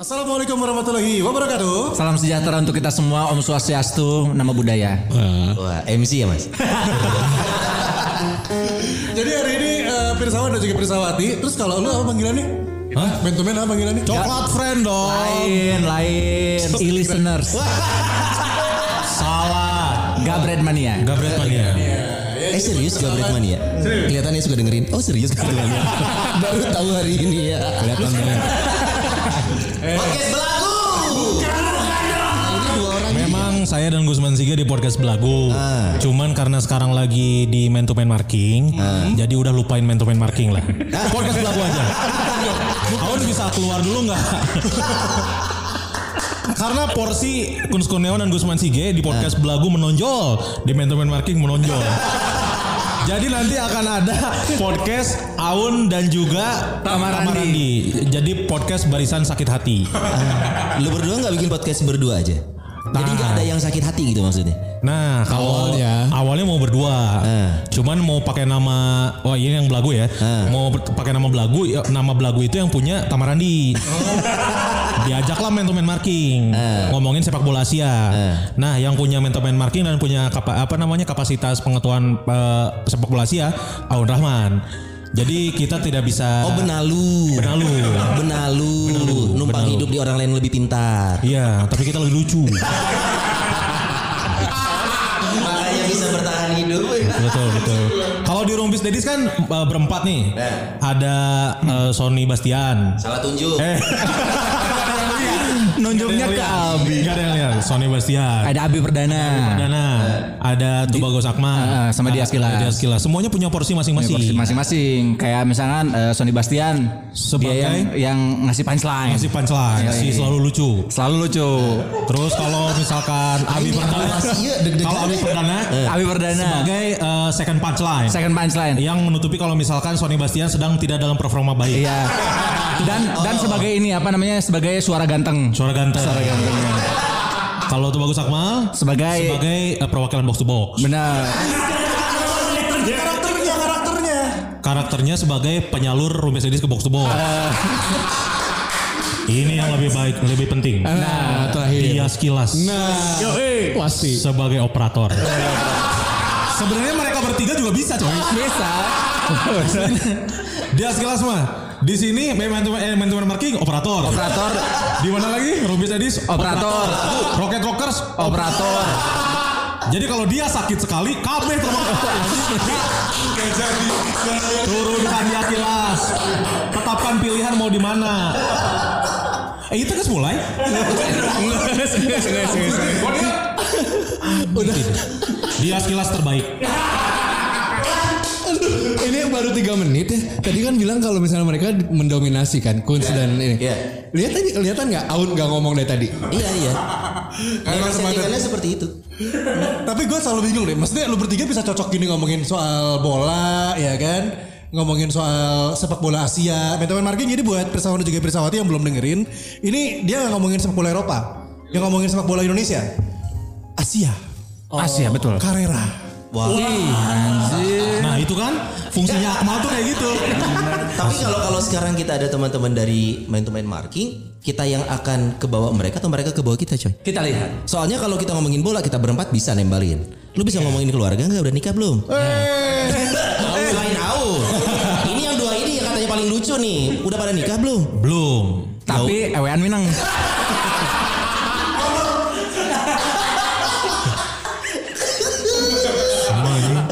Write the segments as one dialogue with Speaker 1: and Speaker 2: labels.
Speaker 1: Assalamualaikum warahmatullahi wabarakatuh.
Speaker 2: Salam sejahtera untuk kita semua, Om Swastiastu, nama budaya.
Speaker 3: Wah, MC ya mas?
Speaker 1: Jadi hari ini eh, Pirsawan dan juga Pirsawati. Terus kalau lu apa panggilannya? Hah? Man to man apa panggilannya? Coklat friend dong.
Speaker 2: Lain, lain.
Speaker 3: E
Speaker 2: E-listeners. Salah. Gabret mania.
Speaker 4: Gabret Mania.
Speaker 3: eh serius Gabret Mania? Kelihatannya suka dengerin. Oh serius Gabret Mania? Baru tahu hari ini ya. Kelihatan banget. Podcast belagu. Ini dua orang.
Speaker 4: Memang saya dan Gusman Siga di podcast Belagu.
Speaker 2: Ah.
Speaker 4: Cuman karena sekarang lagi di man to man marking,
Speaker 2: Ah.
Speaker 4: jadi udah lupain man to man marking lah. podcast Belagu aja. Awan bisa keluar dulu nggak? Karena porsi Kunz Kurniawan dan Gusman Sige di podcast Belagu menonjol, di man to man marking menonjol. Jadi nanti akan ada podcast Aun dan juga
Speaker 2: Tamarandi.
Speaker 4: Jadi podcast barisan sakit hati.
Speaker 3: Lu berdua nggak bikin podcast berdua aja? Jadi nggak ada yang sakit hati gitu maksudnya?
Speaker 4: Nah, kalau awalnya mau berdua. Cuman mau pakai nama wah ini yang belagu ya. Mau ber- pakai nama belagu, ya, nama belagu itu yang punya Tamarandi. Diajaklah main to man marking, ngomongin sepak bola Asia. Nah, yang punya main to man marking dan punya kapa- apa namanya kapasitas pengetahuan eh, sepak bola Asia, Aun Rahman. Jadi kita tidak bisa
Speaker 3: Oh benalu.
Speaker 4: Nah. Benalu.
Speaker 3: Benalu. Numpang
Speaker 4: Benalu.
Speaker 3: hidup di orang lain lebih pintar.
Speaker 4: Iya, tapi kita lebih lucu.
Speaker 3: Makanya bisa bertahan hidup.
Speaker 4: betul betul. Kalau di Rumpis Dedis kan eh, berempat nih. Ada eh, Sony Bastian.
Speaker 3: Salah tunjuk.
Speaker 4: Eh. Nunjuknya ke Abi. Gak ada yang lihat. Sony Bastian.
Speaker 2: Ada Abi Perdana.
Speaker 4: Dana. Ada Tubago Sakma.
Speaker 2: Eh, eh, sama Dias Kila.
Speaker 4: Dias Kila. Semuanya punya porsi masing-masing.
Speaker 2: Porsi Masing-masing. Kayak misalkan eh, Sony Bastian.
Speaker 4: Sebagai-
Speaker 2: dia yang, yang ngasih punchline.
Speaker 4: Masih punchline.
Speaker 2: Yoi.
Speaker 4: Si selalu lucu.
Speaker 2: Selalu lucu.
Speaker 4: Terus kalau misalkan Abi Perdana.
Speaker 3: iya, deg-degan
Speaker 4: Kalau Abi
Speaker 3: ya.
Speaker 4: Perdana.
Speaker 2: Abi Perdana.
Speaker 4: Sebagai eh, second punchline.
Speaker 2: Eh. Second punchline.
Speaker 4: Yang menutupi kalau misalkan Sony Bastian sedang tidak dalam performa baik.
Speaker 2: Iya. Dan dan sebagai ini apa namanya? Sebagai suara ganteng.
Speaker 4: Suara ganteng. Suara ganteng. Kalau tuh bagus Akmal
Speaker 2: Sebagai-
Speaker 4: sebagai eh, perwakilan box to box.
Speaker 2: Benar.
Speaker 1: Karakternya, karakternya.
Speaker 4: Karakternya sebagai penyalur rumis edis ke box to box. Ini yang lebih baik, lebih penting.
Speaker 2: Nah,
Speaker 4: Dia sekilas
Speaker 1: Nah, pasti.
Speaker 4: sebagai operator. Sebenarnya mereka bertiga juga bisa coy.
Speaker 2: Bisa.
Speaker 4: Dia sekilas mah. Di sini man to man, eh, man to man marking operator.
Speaker 2: Operator,
Speaker 4: Di mana lagi? Rumis edis
Speaker 2: Operator.
Speaker 4: Rocket Rockers
Speaker 2: operator.
Speaker 4: Jadi kalau dia sakit sekali, kabeh termasuk. Turunkan ya kilas. Tetapkan pilihan mau di mana. Eh itu kan mulai. Udah. Dia kilas terbaik.
Speaker 1: Ini baru tiga menit ya. Tadi kan bilang kalau misalnya mereka mendominasi kan Kunz dan ini.
Speaker 3: Iya.
Speaker 1: Lihat tadi, kelihatan nggak? Aun nggak ngomong dari tadi.
Speaker 3: Iya iya.
Speaker 1: Karena
Speaker 3: Memang
Speaker 1: semangat.
Speaker 3: settingannya seperti itu.
Speaker 1: Tapi gue selalu bingung deh. Maksudnya lu bertiga bisa cocok gini ngomongin soal bola, ya kan? Ngomongin soal sepak bola Asia. Mentamen Margin jadi buat Persawan dan juga Persawati yang belum dengerin. Ini dia nggak ngomongin sepak bola Eropa. Dia ngomongin sepak bola Indonesia. Asia.
Speaker 2: Asia betul.
Speaker 1: Karera.
Speaker 3: Wah.
Speaker 4: Nah itu kan fungsinya Akmal tuh kayak gitu.
Speaker 3: Tapi kalau kalau sekarang kita ada teman-teman dari main to main marking, kita yang akan ke bawah mereka atau mereka ke bawah kita, coy?
Speaker 2: Kita lihat.
Speaker 3: Soalnya kalau kita ngomongin bola, kita berempat bisa nembalin. Lu
Speaker 1: Iya.
Speaker 3: bisa ngomongin keluarga nggak udah nikah belum? Tahu lain tahu. Ini yang dua ini yang katanya paling lucu nih. Udah pada nikah belum?
Speaker 4: Belum. Nah,
Speaker 2: Tapi ewean Minang.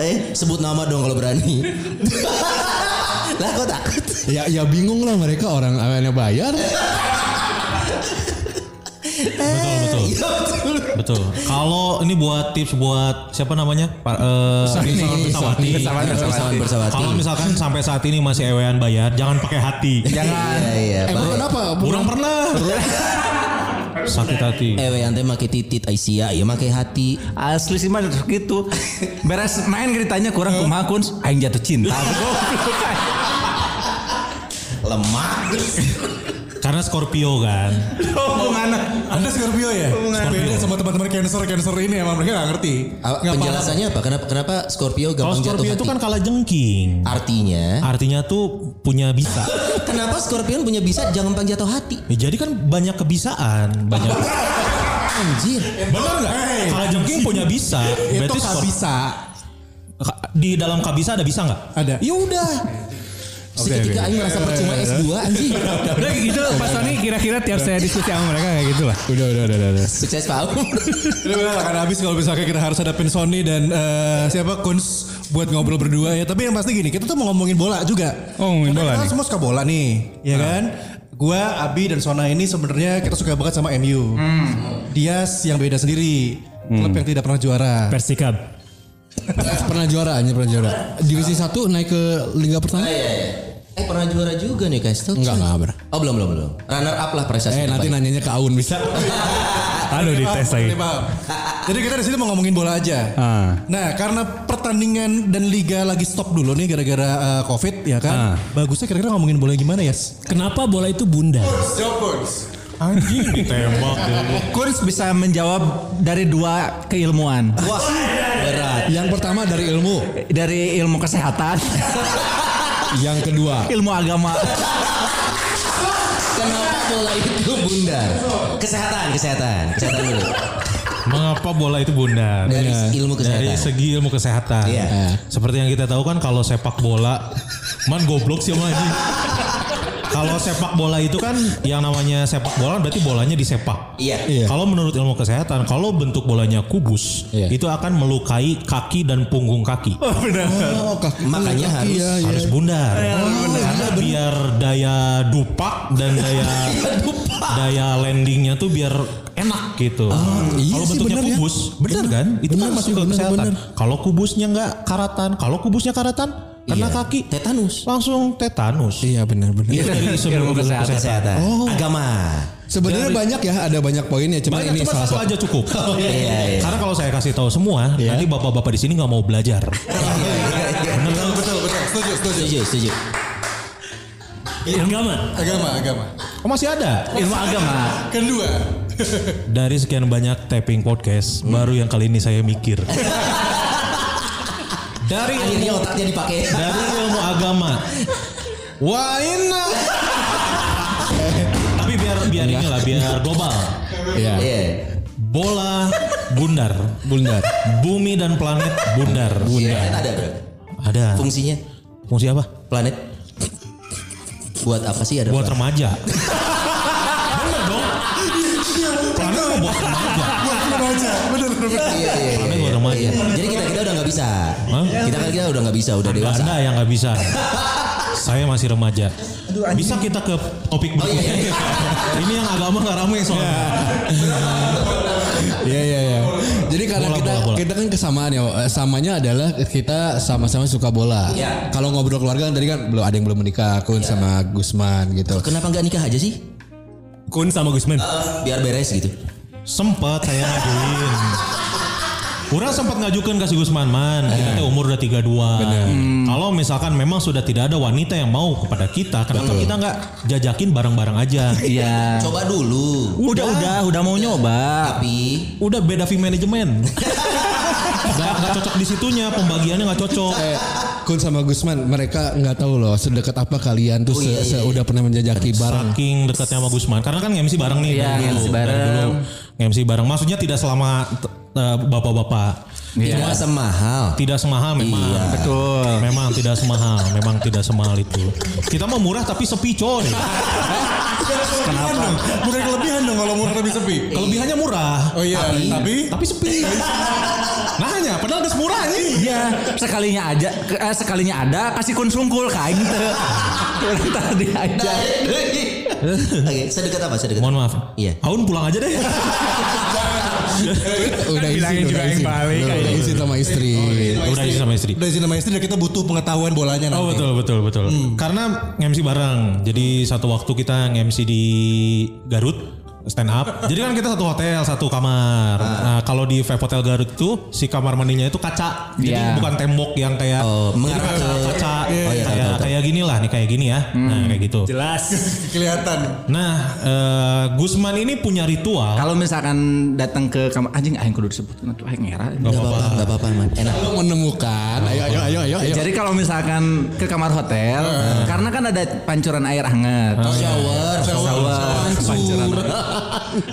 Speaker 3: Eh, sebut nama dong kalau berani. lah kok takut?
Speaker 1: Ya ya bingung lah mereka orang awalnya bayar. Eh,
Speaker 4: Betul betul.
Speaker 3: Iya, betul.
Speaker 4: Betul. Kalau ini buat tips buat siapa namanya? Pak eh Pirsawati.
Speaker 2: Pirsawati.
Speaker 3: Bersamaan bersawati.
Speaker 4: Kalau misalkan sampai saat ini masih ewean bayar, jangan pakai hati.
Speaker 2: Jangan.
Speaker 3: Iya, iya.
Speaker 1: Eh bro,
Speaker 3: Bang.
Speaker 1: kenapa?
Speaker 4: Kurang pernah. Sakit hati.
Speaker 3: Ewe ante Eh, make titit Aisyah ya make hati.
Speaker 2: Asli sih mah gitu. Beres main ceritanya kurang kumaha kun aing jatuh cinta.
Speaker 3: Lemah.
Speaker 4: Karena Scorpio kan.
Speaker 2: Hubungan
Speaker 1: Oh, Anda Scorpio ya? Scorpio Beda sama teman-teman cancer cancer ini emang mereka gak ngerti.
Speaker 2: Ah,
Speaker 3: Apa-
Speaker 1: Nggak
Speaker 3: Penjelasannya apa? Kenapa kenapa Scorpio
Speaker 2: Oh,
Speaker 4: Kalau
Speaker 3: gampang jatuh
Speaker 4: Scorpio
Speaker 3: hati?
Speaker 4: itu kan kalah jengking.
Speaker 2: Ah.
Speaker 3: Artinya
Speaker 4: Artinya tuh punya bisa.
Speaker 3: kenapa Scorpion punya bisa jangan gampang jatuh hati?
Speaker 4: Ya, jadi kan banyak kebisaan, banyak.
Speaker 3: Anjir.
Speaker 4: Bener nggak? Kalah jengking punya bisa.
Speaker 1: paham. itu
Speaker 4: Berarti
Speaker 1: gak
Speaker 4: Scor-
Speaker 1: bisa.
Speaker 4: Ka- di dalam kabisa ada bisa nggak?
Speaker 1: Ada.
Speaker 3: Ya udah. Seketika aing merasa percuma S2 anjing.
Speaker 2: Udah gitu Pak Sony kira-kira tiap saya diskusi
Speaker 1: Oh,
Speaker 2: sama
Speaker 1: ya?
Speaker 2: mereka kayak gitu lah.
Speaker 4: Udah, udah, udah, udah.
Speaker 3: Sukses Pak.
Speaker 1: Ini benar akan habis kalau misalnya kita harus ada Sony dan eh, siapa Kuns buat ngobrol berdua ya. Tapi yang pasti gini, kita tuh mau ngomongin bola juga.
Speaker 2: Oh, ngomongin
Speaker 1: Karena
Speaker 2: bola
Speaker 1: kita
Speaker 2: nih. Nah.
Speaker 1: semua suka bola nih, ya kan? Gua, Abi dan Sona ini sebenarnya kita suka banget sama MU.
Speaker 2: Hmm.
Speaker 1: Dias yang beda sendiri, klub yang tidak pernah juara.
Speaker 2: Persikab.
Speaker 5: pernah juara aja pernah juara. Divisi 1 naik ke liga pertama.
Speaker 3: Eh pernah juara juga nih guys. Tuh,
Speaker 5: Enggak,
Speaker 3: cuy.
Speaker 5: enggak pernah.
Speaker 3: Oh belum belum belum. Runner up lah prestasi.
Speaker 5: Eh nanti
Speaker 3: terbaik.
Speaker 5: nanyanya ke Aun bisa.
Speaker 2: Aduh dites lagi.
Speaker 1: Oke, paham. Jadi kita di sini mau ngomongin bola aja.
Speaker 2: Ah.
Speaker 1: Nah, karena pertandingan dan liga lagi stop dulu nih gara-gara eh, Covid ya
Speaker 2: Ah.
Speaker 1: kan. Bagusnya kira-kira ngomongin bola gimana ya? Yes?
Speaker 5: Kenapa bola itu bunda?
Speaker 4: Anjing ditembak dulu.
Speaker 2: Kun bisa menjawab dari dua keilmuan.
Speaker 3: Wah berat.
Speaker 5: Yang pertama dari ilmu,
Speaker 2: Dari ilmu kesehatan, Iya,
Speaker 5: yang kedua
Speaker 2: ilmu agama.
Speaker 3: Kenapa bola itu bundar? Kesehatan kesehatan kesehatan dulu.
Speaker 4: Mengapa bola itu bundar?
Speaker 3: Dari ilmu
Speaker 4: Dari
Speaker 3: kesehatan.
Speaker 4: segi ilmu kesehatan.
Speaker 3: Iya.
Speaker 4: Seperti yang kita tahu kan kalau sepak bola man goblok sih emang anjing. Kalau sepak bola itu kan yang namanya sepak bola berarti bolanya disepak.
Speaker 3: Iya.
Speaker 5: Iya.
Speaker 4: Kalau menurut ilmu kesehatan, kalau bentuk bolanya kubus,
Speaker 5: Iya.
Speaker 4: itu akan melukai kaki dan punggung kaki.
Speaker 5: Oh, kaki.
Speaker 3: Makanya
Speaker 5: Kaki,
Speaker 3: harus-
Speaker 5: ya, ya.
Speaker 4: Harus bundar.
Speaker 5: Iya,
Speaker 4: Karena biar daya dupak dan daya daya landingnya tuh biar enak gitu.
Speaker 5: iya
Speaker 4: kalau
Speaker 5: sih,
Speaker 4: bentuknya
Speaker 5: bener ya.
Speaker 4: kubus, bener kan? Itu
Speaker 5: Bener
Speaker 4: kan masuk
Speaker 5: sih,
Speaker 4: ke
Speaker 5: bener,
Speaker 4: kesehatan.
Speaker 5: bener.
Speaker 4: Kalau kubusnya nggak karatan, kalau kubusnya karatan kena
Speaker 3: Iya.
Speaker 4: kaki
Speaker 3: Tetanus.
Speaker 4: langsung tetanus.
Speaker 5: Iya benar benar.
Speaker 4: Itu dari sebelum
Speaker 2: kesehatan.
Speaker 4: kesehatan.
Speaker 3: Kesehatan. Agama.
Speaker 5: Oh. Sebenarnya banyak ya, ada banyak poinnya. Cuma
Speaker 4: Banyak,
Speaker 5: ini
Speaker 4: cuma
Speaker 5: salah
Speaker 4: satu
Speaker 5: satu. Oh,
Speaker 4: aja cukup.
Speaker 3: Iya, iya.
Speaker 4: Karena kalau saya kasih tahu semua,
Speaker 5: Iya.
Speaker 4: nanti bapak-bapak di sini nggak mau belajar.
Speaker 2: iya,
Speaker 1: Betul, betul, betul. Setuju, setuju.
Speaker 3: Setuju setuju.
Speaker 2: Agama.
Speaker 1: Agama, agama.
Speaker 4: Oh masih ada.
Speaker 2: Ilmu agama.
Speaker 1: Kedua.
Speaker 4: Dari sekian banyak tapping podcast, baru yang kali ini saya mikir. dari
Speaker 3: Akhirnya
Speaker 4: ilmu,
Speaker 3: otaknya dipakai.
Speaker 4: dari ilmu agama. Wah inna. Tapi biar biar inilah biar global.
Speaker 5: Iya.
Speaker 3: Iya.
Speaker 4: Bola bundar,
Speaker 5: Bundar.
Speaker 4: bumi dan planet bundar.
Speaker 3: Iya kan ada bro.
Speaker 4: Ada.
Speaker 3: Fungsinya
Speaker 4: Fungsi apa?
Speaker 3: planet. Buat apa sih ada?
Speaker 4: Buat
Speaker 3: planet?
Speaker 4: remaja. Bener dong. Planet mau buat remaja.
Speaker 1: Remaja, benar benar.
Speaker 3: Iya, iya,
Speaker 4: Planet
Speaker 3: iya,
Speaker 4: buat remaja.
Speaker 3: iya. Jadi kita kita udah nggak bisa. Kita kan kita udah nggak bisa, udah
Speaker 4: Nggak
Speaker 3: dewasa.
Speaker 4: Anda yang nggak bisa. Saya masih remaja. Bisa kita ke topik berikutnya. Ini yang agama nggak rame soalnya.
Speaker 5: Iya iya iya. Jadi karena
Speaker 4: Bola,
Speaker 5: kita
Speaker 4: bola, bola.
Speaker 5: kita kan kesamaan ya. Eh, Samanya adalah kita sama-sama suka bola.
Speaker 3: Iya.
Speaker 5: Kalau ngobrol keluarga kan tadi kan belum ada yang belum menikah, Kun
Speaker 4: Iya.
Speaker 5: sama Gusman gitu.
Speaker 3: Kenapa nggak nikah aja sih?
Speaker 4: Kun sama Gusman.
Speaker 3: Biar beres gitu.
Speaker 4: Sempat saya ngajuin. Kurang sempat ngajukan ke si Gusman man, kita teh umur udah 32. Hmm. Kalau misalkan memang sudah tidak ada wanita yang mau kepada kita, kenapa kita nggak jajakin bareng-bareng aja?
Speaker 2: Iya.
Speaker 3: Coba dulu.
Speaker 2: Udah, udah, udah mau nyoba.
Speaker 3: Tapi
Speaker 4: Udah beda fee management. Nggak nggak cocok di situnya, pembagiannya nggak cocok.
Speaker 5: Eh, Kun sama Gusman mereka nggak tahu loh sedekat apa kalian
Speaker 4: Oh,
Speaker 5: tuh
Speaker 4: iya,
Speaker 5: se- se- udah pernah menjajaki bareng.
Speaker 4: Saking dekatnya sama Gusman. Karena kan MC bareng nih.
Speaker 2: Iya,
Speaker 4: dari dulu.
Speaker 2: MC bareng.
Speaker 4: Dari dulu MC bareng. Maksudnya tidak selama t- eh, bapak-bapak.
Speaker 3: tidak semahal.
Speaker 4: Tidak semahal memang.
Speaker 3: Iya.
Speaker 4: Betul. Memang tidak semahal. Memang tidak semahal itu. Kita mau murah tapi sepi coy.
Speaker 1: Kenapa? Bukan kelebihan dong kalau murah lebih sepi.
Speaker 4: Kelebihannya murah.
Speaker 1: Oh iya, tapi,
Speaker 4: Tapi sepi. Nah hanya padahal udah murah anjing.
Speaker 2: Iya, sekalinya aja, ke- eh, sekalinya ada kasih kun sungkul kain teh. Kita di aja.
Speaker 3: Oke, sedekat apa? Sedekat.
Speaker 4: Mohon maaf.
Speaker 3: Iya.
Speaker 4: Aun pulang aja deh.
Speaker 1: Kan
Speaker 5: udah izin, udah izin. Udah, udah izin sama istri.
Speaker 4: Udah
Speaker 1: gitu. Oh,
Speaker 4: izin sama istri.
Speaker 1: iya.
Speaker 3: Iya.
Speaker 1: udah izin sama istri dan kita butuh pengetahuan bolanya nanti.
Speaker 4: Oh betul betul betul.
Speaker 3: Hmm.
Speaker 4: Karena MC bareng. Jadi satu waktu kita MC di Garut. stand up. Jadi kan kita satu hotel, satu kamar.
Speaker 3: Ah.
Speaker 4: Nah, kalau di Vibe Hotel Garut itu si kamar mandinya itu kaca. Jadi
Speaker 5: Iya.
Speaker 4: bukan tembok yang kayak
Speaker 3: Oh, mengarah
Speaker 4: Jadi kaca,
Speaker 3: ke- Oh, iya,
Speaker 4: kaca
Speaker 3: tahu,
Speaker 4: kayak
Speaker 3: tahu, Hmm. tahu.
Speaker 4: kayak gini lah nih kayak gini ya. Nah, kayak gitu.
Speaker 1: Kelihatan.
Speaker 4: Nah, eh, Gusman ini punya ritual.
Speaker 5: Kalau misalkan datang ke kamar anjing aing kudu disebut tuh aing ngera.
Speaker 3: Gak
Speaker 4: Nggak
Speaker 3: apa-apa, gak apa-apa man. Enak.
Speaker 6: Lu menemukan.
Speaker 5: Oh,
Speaker 1: Iya.
Speaker 5: iya,
Speaker 6: Ayo ayo ayo ayo. ayo.
Speaker 5: Jadi kalau misalkan ke kamar hotel,
Speaker 3: Eh.
Speaker 5: karena kan ada pancuran air hangat.
Speaker 3: Shower.
Speaker 5: Shower, pancuran.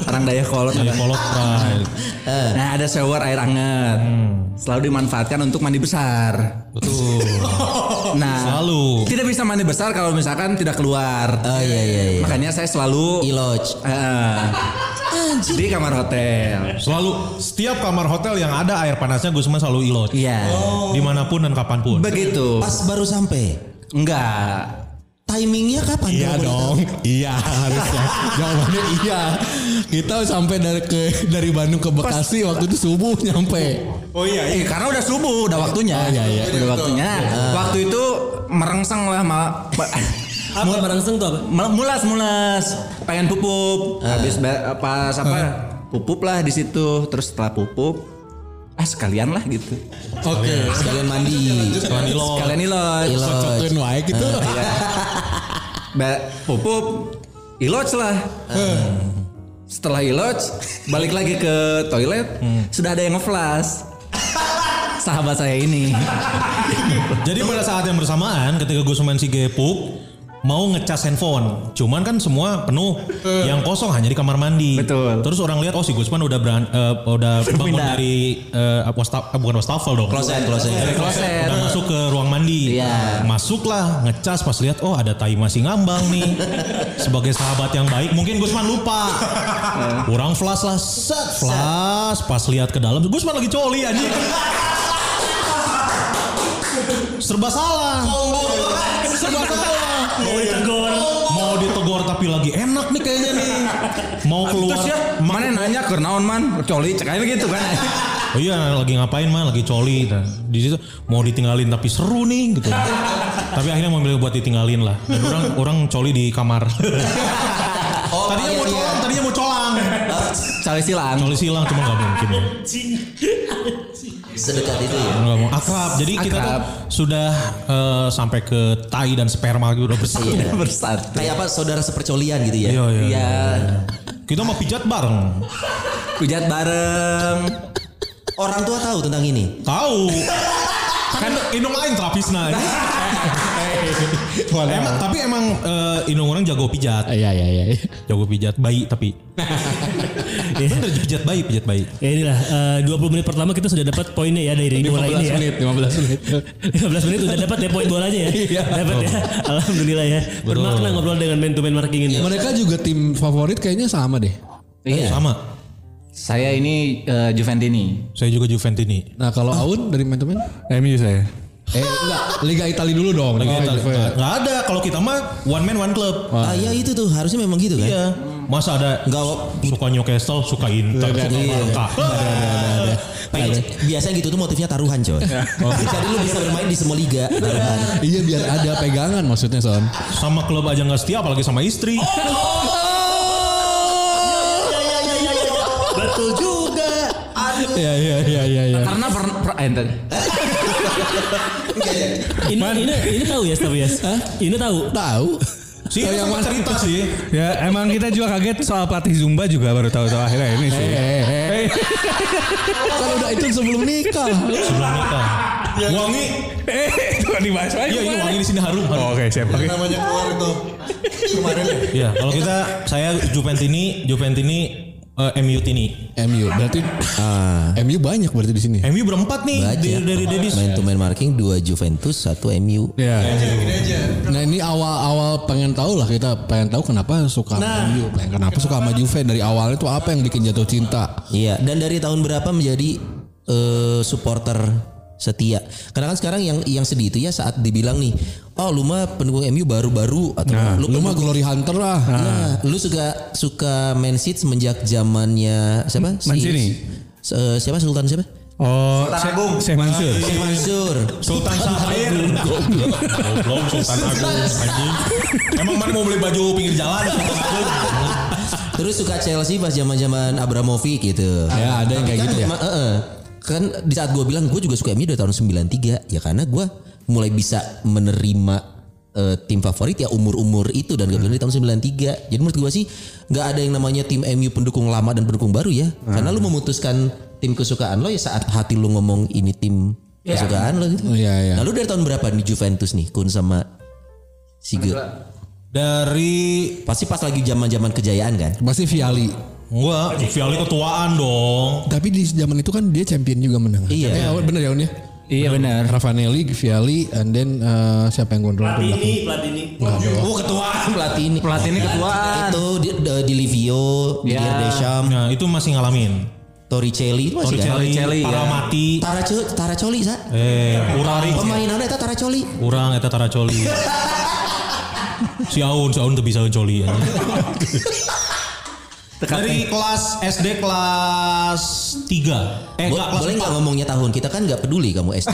Speaker 5: Orang daya kolot.
Speaker 4: Kayak kolot Pak.
Speaker 3: Eh.
Speaker 5: Nah ada shower air hangat.
Speaker 3: Hmm.
Speaker 5: Selalu dimanfaatkan untuk mandi besar.
Speaker 4: Betul.
Speaker 3: Oh,
Speaker 5: Nah,
Speaker 4: Selalu.
Speaker 5: Tidak bisa mandi besar kalau misalkan tidak keluar.
Speaker 3: Oh iya iya iya.
Speaker 5: Makanya saya selalu
Speaker 3: Iloj.
Speaker 5: eh, di kamar hotel.
Speaker 4: Selalu setiap kamar hotel yang ada air panasnya Gusman selalu ilot.
Speaker 5: Iya.
Speaker 4: Dimanapun dan kapanpun.
Speaker 5: Begitu.
Speaker 3: Pas baru sampai.
Speaker 5: Enggak.
Speaker 3: Timingnya kapan?
Speaker 6: Iya
Speaker 3: Kalau boleh tahu?
Speaker 6: dong, iya harusnya. Jawabannya iya. Kita sampai dari ke dari Bandung ke Bekasi waktu itu subuh nyampe.
Speaker 1: Oh iya.
Speaker 5: Eh, karena udah subuh, udah waktunya.
Speaker 6: iya, iya.
Speaker 5: Udah waktunya. Waktu itu merengseng lah ma ma-
Speaker 7: Apa barangseng tuh apa?
Speaker 5: mel- mulas mulas, pengen pupup. Habis ba- pas apa? Pupup lah di situ. Terus setelah pupup, ah sekalian lah gitu.
Speaker 6: Oke.
Speaker 3: Sekalian mandi.
Speaker 4: Selain ilot.
Speaker 5: Sekalian iloj.
Speaker 3: Iloj.
Speaker 6: Cocokin wae gitu.
Speaker 3: eh,
Speaker 5: Ba- pupup, iloj lah. Setelah iloj, balik lagi ke toilet, sudah ada yang ngeflash. Sahabat saya ini.
Speaker 4: Jadi pada saat yang bersamaan ketika Gusman si gepuk mau ngecas handphone, cuman kan semua penuh, yang kosong hanya di kamar mandi.
Speaker 5: Eh. Betul.
Speaker 4: Terus orang lihat oh si Gusman udah beran, eh, udah bangun
Speaker 5: Pindah.
Speaker 4: dari eh, wasta- eh, bukan wastafel dong.
Speaker 3: Closet, closet.
Speaker 4: Dari
Speaker 5: Closet.
Speaker 4: Udah masuk ke ruang mandi.
Speaker 5: Iya.
Speaker 4: Masuklah ngecas pas lihat oh ada tai masih ngambang nih. Sebagai sahabat yang baik mungkin Gusman lupa. Kurang flash lah. Set, flash pas lihat ke dalam Gusman lagi coli anjing. Serba salah. Serba salah.
Speaker 7: Mau ditegur.
Speaker 4: Mau ditegur tapi lagi enak nih kayaknya nih. Mau keluar.
Speaker 5: Terus ya,
Speaker 4: ma-
Speaker 5: mana nanya ke naon man, coli cek aja gitu kan.
Speaker 4: Oh iya lagi ngapain mah lagi coli. Nah, Di situ mau ditinggalin tapi seru nih gitu. tapi akhirnya memilih buat ditinggalin lah. Dan orang orang coli di kamar.
Speaker 3: Oh,
Speaker 4: tadinya
Speaker 3: iya,
Speaker 4: mau
Speaker 3: iya.
Speaker 4: colang, tadinya mau colang.
Speaker 5: Coli silang.
Speaker 4: Coli silang cuma nggak mungkin. ya.
Speaker 3: Sedekat itu ya.
Speaker 4: Nggak mau. Akrab. Jadi kita tuh
Speaker 5: Akrab.
Speaker 4: sudah eh, sampai ke tai dan sperma gitu udah bersih.
Speaker 3: Iya.
Speaker 5: Bersatu.
Speaker 3: Kayak apa saudara sepercolian gitu ya.
Speaker 4: Iya iya.
Speaker 5: Iya,
Speaker 4: Kita mau pijat bareng.
Speaker 5: pijat bareng.
Speaker 3: Orang tua tahu tentang ini.
Speaker 4: Tahu. kan indung lain terapisna. emang, tapi emang eh, indung orang jago pijat.
Speaker 6: Iya iya iya.
Speaker 4: Jago pijat bayi tapi. Bener pijat bayi, pijat bayi.
Speaker 7: Ya inilah eh, 20 menit pertama kita sudah dapat poinnya ya dari bola ini
Speaker 6: 15
Speaker 7: ya.
Speaker 6: menit, 15 menit. Iya.
Speaker 7: 15 menit udah dapat ya poin bolanya ya. Dapat ya.
Speaker 6: Oh.
Speaker 7: Alhamdulillah ya. Bermakna ngobrol dengan man to man marking ini.
Speaker 6: Mereka juga tim favorit kayaknya sama deh.
Speaker 5: Iya.
Speaker 4: Sama.
Speaker 5: Saya ini eh, Juventini.
Speaker 4: Saya juga Juventini.
Speaker 6: Nah kalau Aun dari main teman?
Speaker 8: MU saya.
Speaker 6: Eh enggak, Liga Italia dulu dong.
Speaker 4: Lagi
Speaker 6: Oh,
Speaker 4: kita-
Speaker 6: Juve.
Speaker 4: nggak ada. Kalau kita mah one man one club.
Speaker 3: Ah ya itu tuh harusnya memang gitu kan.
Speaker 4: Iya. Masa ada
Speaker 3: Nggak,
Speaker 6: oh.
Speaker 4: suka Newcastle, suka Inter, suka
Speaker 6: iya.
Speaker 4: Barca.
Speaker 3: Pengen- Biasanya gitu tuh motifnya taruhan coy. Oh, gitu. Jadi lu bisa bermain di semua liga taruhan.
Speaker 6: Iya biar ada pegangan maksudnya Son.
Speaker 4: Sama klub aja nggak setia apalagi sama istri.
Speaker 6: Oh,
Speaker 3: Betul juga. Aduh.
Speaker 6: Iya iya iya iya. iya.
Speaker 5: Karena pernah per, eh, entar.
Speaker 7: Ini ini ini tahu ya tapi ya. Ini tahu.
Speaker 6: Tahu.
Speaker 4: Sih,
Speaker 6: Oh,
Speaker 4: yang cerita sih.
Speaker 8: Ya emang kita juga kaget soal pelatih Zumba juga baru tahu-tahu akhirnya ini sih.
Speaker 6: Eh, eh, eh.
Speaker 8: Eh,
Speaker 6: Kan udah itu sebelum nikah.
Speaker 4: Sebelum nikah. Wangi.
Speaker 8: eh, itu kan dibahas lagi.
Speaker 4: Iya, ini wangi di sini harum. harum.
Speaker 8: Oh, Oke, siap. Oke.
Speaker 1: Namanya keluar itu. Kemarin ya.
Speaker 4: Iya, kalau kita saya Juventini, Juventini eh, MU Tini.
Speaker 6: MU berarti MU banyak berarti di sini.
Speaker 4: MU berempat nih
Speaker 3: Baca.
Speaker 4: dari dari Dedis.
Speaker 3: Main to main marking 2 Juventus, 1 MU.
Speaker 6: Iya. Nah ini awal-awal pengen tahu lah kita pengen tahu kenapa suka
Speaker 5: Nah.
Speaker 6: sama MU, pengen kenapa suka sama Juve dari awalnya tuh apa yang bikin jatuh cinta?
Speaker 3: Iya, dan dari tahun berapa menjadi eh, supporter setia? Karena kan sekarang yang yang sedih itu ya saat dibilang nih, oh lu mah pendukung MU baru-baru atau lu,
Speaker 6: Nah, Lu
Speaker 3: pendukung-
Speaker 6: mah glory hunter lah.
Speaker 3: Nah, lu suka suka Man City semenjak zamannya siapa? Si-
Speaker 8: Mancini.
Speaker 3: s- eh, siapa Sultan siapa?
Speaker 8: Oh, Syekh Syekh Mansur.
Speaker 3: Sheikh Mansur.
Speaker 4: Sultan Sahir. Goblok Sultan Agung anjing. Emang mana mau beli baju pinggir jalan Sultan Agung.
Speaker 3: Terus suka Chelsea pas zaman-zaman Abramovich gitu.
Speaker 5: Ya, ada
Speaker 3: Tapi
Speaker 5: yang kayak
Speaker 3: kan
Speaker 5: gitu ya.
Speaker 3: memang, eh, eh. kan di saat gue bilang gue juga suka MU dari tahun 93 ya karena gue mulai bisa menerima eh, tim favorit ya umur-umur itu dan gak bilang di tahun 93. Jadi menurut gue sih nggak ada yang namanya tim MU pendukung lama dan pendukung baru ya.
Speaker 5: Ah.
Speaker 3: Karena lu memutuskan tim kesukaan lo ya saat hati lu ngomong ini tim kesukaan lo gitu.
Speaker 5: Iya, iya.
Speaker 3: Lalu dari tahun berapa di Juventus nih Kun sama Sige?
Speaker 4: Dari
Speaker 3: Pasti pas lagi zaman-zaman kejayaan kan?
Speaker 5: Pasti Viali.
Speaker 4: Enggak, Viali ketuaan dong.
Speaker 5: Tapi di zaman itu kan dia champion juga menang.
Speaker 3: Iya.
Speaker 5: Eh, awal- bener ya Un ya?
Speaker 9: Iya benar.
Speaker 5: Ravanelli, Viali, and then eh, siapa yang gondrong tuh belakang?
Speaker 6: Platini, Platini.
Speaker 3: Oh ketuaan pelatih ini.
Speaker 2: Pelatih ini ketuaan.
Speaker 3: Itu di, di- di Livio, di
Speaker 2: Ya.
Speaker 3: Desham,
Speaker 4: Nah, itu masih ngalamin.
Speaker 3: Toricelli itu masih kan?
Speaker 4: Torricelli,
Speaker 2: Torricelli, ya.
Speaker 4: Paramati,
Speaker 3: Taraco, Taracoli sa.
Speaker 4: eh, Urari,
Speaker 3: Pemainannya itu Taracoli.
Speaker 4: Urang, Eta Taracoli. si Aun, si Aun tuh bisa coli. Ya. Dari kelas SD kelas 3. Eh,
Speaker 3: Bo-
Speaker 4: enggak, kelas
Speaker 3: boleh nggak ngomongnya tahun? Kita kan nggak peduli kamu SD.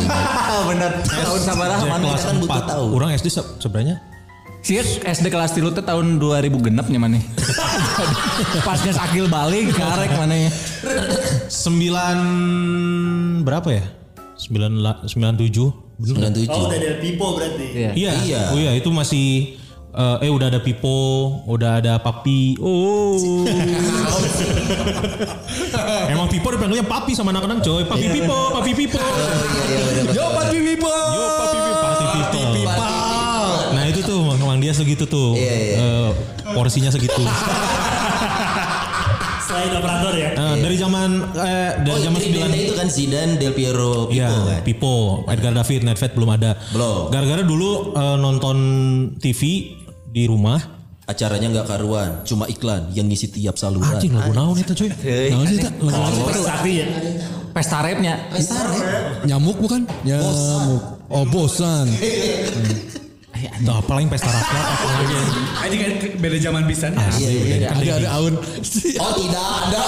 Speaker 2: Bener. Tahun sama Rahman.
Speaker 3: Kita kan butuh tahu.
Speaker 4: Urang SD se sebenarnya.
Speaker 2: Sih SD kelas tilu teh tahun 2000 genep nya maneh. Pas geus akil balik karek maneh.
Speaker 4: 9 berapa ya? 9 97. Bener.
Speaker 3: 97.
Speaker 6: Oh udah ada Pipo berarti.
Speaker 4: Iya.
Speaker 3: Iya.
Speaker 4: Oh iya itu masih eh, eh udah ada Pipo, udah ada Papi. Oh. Emang Pipo dipanggilnya Papi sama anak-anak coy. Papi
Speaker 3: Iya.
Speaker 4: Pipo, Papi Pipo.
Speaker 1: Yo Papi Pipo.
Speaker 4: Yo Papi Pipo, Papi Pipo. Nah itu tuh Mang Mang dia segitu tuh.
Speaker 3: Iya, iya.
Speaker 4: Eh, porsinya segitu.
Speaker 6: Selain operator ya.
Speaker 4: Nah, dari zaman eh,
Speaker 3: Oh,
Speaker 4: dari zaman
Speaker 3: Tridentnya
Speaker 4: 9
Speaker 3: itu kan Zidane, Del Piero, Pipo
Speaker 4: Iya,
Speaker 3: kan.
Speaker 4: Pipo, Edgar David, Nedved belum ada.
Speaker 3: Belum.
Speaker 4: Gara-gara dulu eh, nonton TV di rumah.
Speaker 3: Acaranya nggak karuan, cuma iklan yang ngisi tiap saluran.
Speaker 4: Anjing lagu naon itu cuy.
Speaker 5: Nah, sih, tak? Lagu-
Speaker 6: Sakti ya.
Speaker 2: Pesta rapnya.
Speaker 3: ya?
Speaker 5: Nyamuk bukan? Nyamuk. Oh, bosan.
Speaker 4: Nah, apalagi pesta rakyat. apalagi.
Speaker 10: Aja kan beda zaman pisan.
Speaker 2: Ah, Iya,
Speaker 5: Ada ada Aun.
Speaker 3: Oh tidak ada.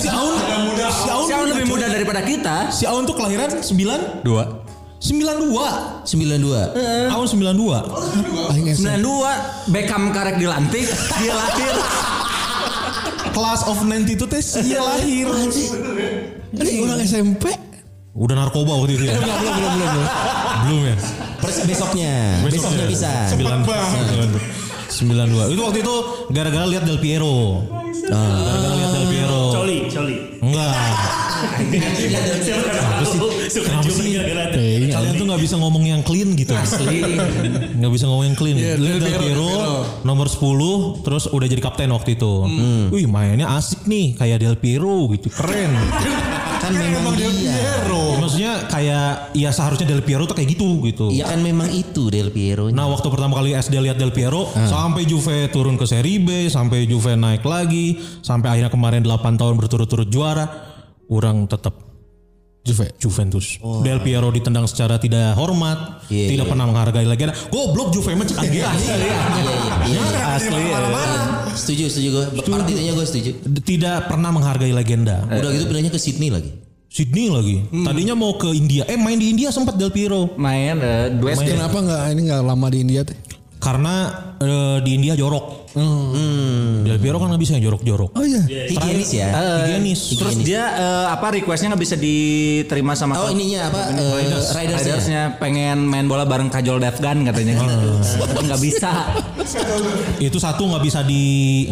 Speaker 4: si Aun, si Aun,
Speaker 2: Siapa lebih muda daripada kita?
Speaker 4: si Aun tuh kelahiran 9
Speaker 9: Dua.
Speaker 4: 92.
Speaker 3: 92.
Speaker 4: Aun 92.
Speaker 5: Aing
Speaker 2: Iya,
Speaker 5: esen.
Speaker 2: 92 Beckham karek dilantik, dia lahir.
Speaker 4: Class of 92 teh dia lahir.
Speaker 5: Ini orang SMP.
Speaker 4: Udah narkoba waktu itu ya. belum, belum, belum, belum. Belum ya.
Speaker 3: Pers- besoknya, besoknya bisa.
Speaker 4: 92. Itu waktu itu gara-gara lihat Del Piero. Gara-gara lihat Del Piero.
Speaker 6: Coli, Coli.
Speaker 4: Enggak.
Speaker 6: Siapa tahu. Suka
Speaker 4: Kenapa
Speaker 6: cuma
Speaker 4: sih?
Speaker 6: gara-gara.
Speaker 4: Kalian tuh nggak bisa ngomong yang clean gitu. Asli. Nggak bisa ngomong yang clean. Del Piero nomor 10 terus udah jadi kapten waktu itu. Wih mainnya asik nih kayak Del Piero gitu keren. Iya.
Speaker 3: Kan memang dia.
Speaker 4: Maksudnya kayak ya seharusnya Del Piero tuh kayak gitu gitu.
Speaker 3: Iya kan memang itu Del Piero.
Speaker 4: Nah waktu pertama kali SD lihat Del Piero sampai Juve turun ke Serie B, sampai Juve naik lagi, sampai akhirnya kemarin 8 tahun berturut-turut juara, orang tetap
Speaker 5: Juve.
Speaker 4: Juventus. Del Piero ditendang secara tidak hormat,
Speaker 3: Iya,
Speaker 4: tidak
Speaker 3: iya.
Speaker 4: pernah menghargai legenda. Goblok Juve mah cek aja.
Speaker 3: Iya, iya, iya.
Speaker 4: Asli.
Speaker 3: Setuju, setuju gue. Partitanya gue setuju.
Speaker 4: Tidak pernah menghargai legenda.
Speaker 3: Udah gitu pindahnya ke Sydney lagi.
Speaker 4: Sydney lagi.
Speaker 3: Hmm.
Speaker 4: Tadinya mau ke India. Eh main di India sempat Del Piero.
Speaker 2: Main eh, duet
Speaker 5: Kenapa nggak ini nggak lama di India teh?
Speaker 4: Karena eh, di India jorok.
Speaker 3: Hmm.
Speaker 4: Del Piero kan nggak bisa yang jorok-jorok.
Speaker 5: Oh iya.
Speaker 3: Higienis ya.
Speaker 4: Higienis.
Speaker 2: Terus dia eh, apa requestnya nggak bisa diterima sama
Speaker 3: Oh ininya apa? eh, Ridersnya.
Speaker 2: Ridersnya pengen main bola bareng Kajol Devgan katanya gitu.
Speaker 3: Oh.
Speaker 2: Tapi nggak bisa.
Speaker 4: itu satu nggak bisa di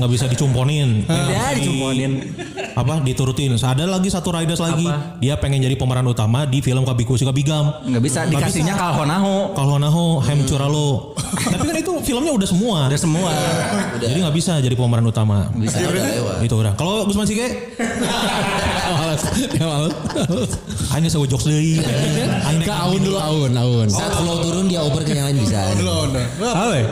Speaker 4: nggak bisa dicumponin
Speaker 3: Eh.
Speaker 2: Ya,
Speaker 4: Di-
Speaker 2: dicumponin.
Speaker 4: apa diturutin ada lagi satu riders lagi dia pengen jadi pemeran utama di film Kabiku Suka Bigam
Speaker 2: Nggak bisa dikasihnya kalhonaho.
Speaker 4: kalau Naho Hem Curalo tapi kan itu filmnya udah semua
Speaker 2: Udah semua.
Speaker 4: jadi nggak bisa jadi pemeran utama
Speaker 3: Bisa
Speaker 6: Iya,
Speaker 3: udah lewat.
Speaker 4: itu udah kalau Gusman Sige
Speaker 5: Males. Ya males.
Speaker 4: hanya sewa jokes deui Aing naik
Speaker 5: Ke Aun dulu Aun Aun.
Speaker 3: Saat flow turun dia over ke yang lain bisa.
Speaker 9: Apa? ya?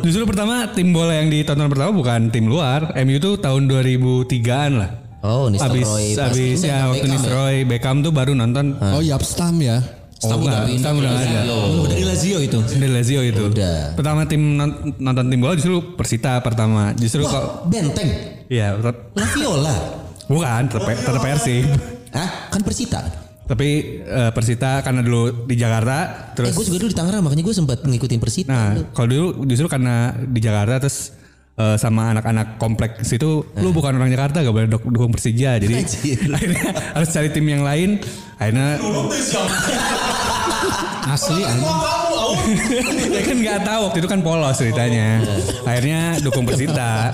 Speaker 9: Justru pertama tim bola yang ditonton pertama bukan tim luar. MU tuh tahun 2003-an lah.
Speaker 3: Oh, Nistelrooy.
Speaker 9: Abis,
Speaker 3: Pas
Speaker 9: abis
Speaker 3: itu
Speaker 9: ya
Speaker 3: Beckham
Speaker 9: waktu
Speaker 3: ya?
Speaker 9: Nisroy, Beckham tuh baru nonton.
Speaker 5: Oh Yapstam ya.
Speaker 9: Oh, enggak, Stam udah nggak ada.
Speaker 3: Dari Lazio itu.
Speaker 9: Dari Lazio itu.
Speaker 3: Udah.
Speaker 9: Pertama tim non- nonton tim bola justru Persita pertama. Justru kok
Speaker 3: Wah, benteng.
Speaker 9: Iya, tetap-
Speaker 3: La Viola.
Speaker 9: bukan tetap tetap Persib.
Speaker 3: Hah? Kan Persita.
Speaker 9: Tapi eh, Persita karena dulu di Jakarta
Speaker 3: Eh,
Speaker 9: terus
Speaker 3: gue juga dulu di Tangerang makanya gue sempat ngikutin Persita.
Speaker 9: nah kalau dulu justru karena di Jakarta terus eh, sama anak-anak kompleks itu lu bukan orang Jakarta gak boleh dok- dukung Persija jadi akhirnya harus cari tim yang lain akhirnya
Speaker 5: Asli anjing.
Speaker 9: ya kan nggak tahu waktu itu kan polos ceritanya
Speaker 3: Oh.
Speaker 9: akhirnya dukung Persita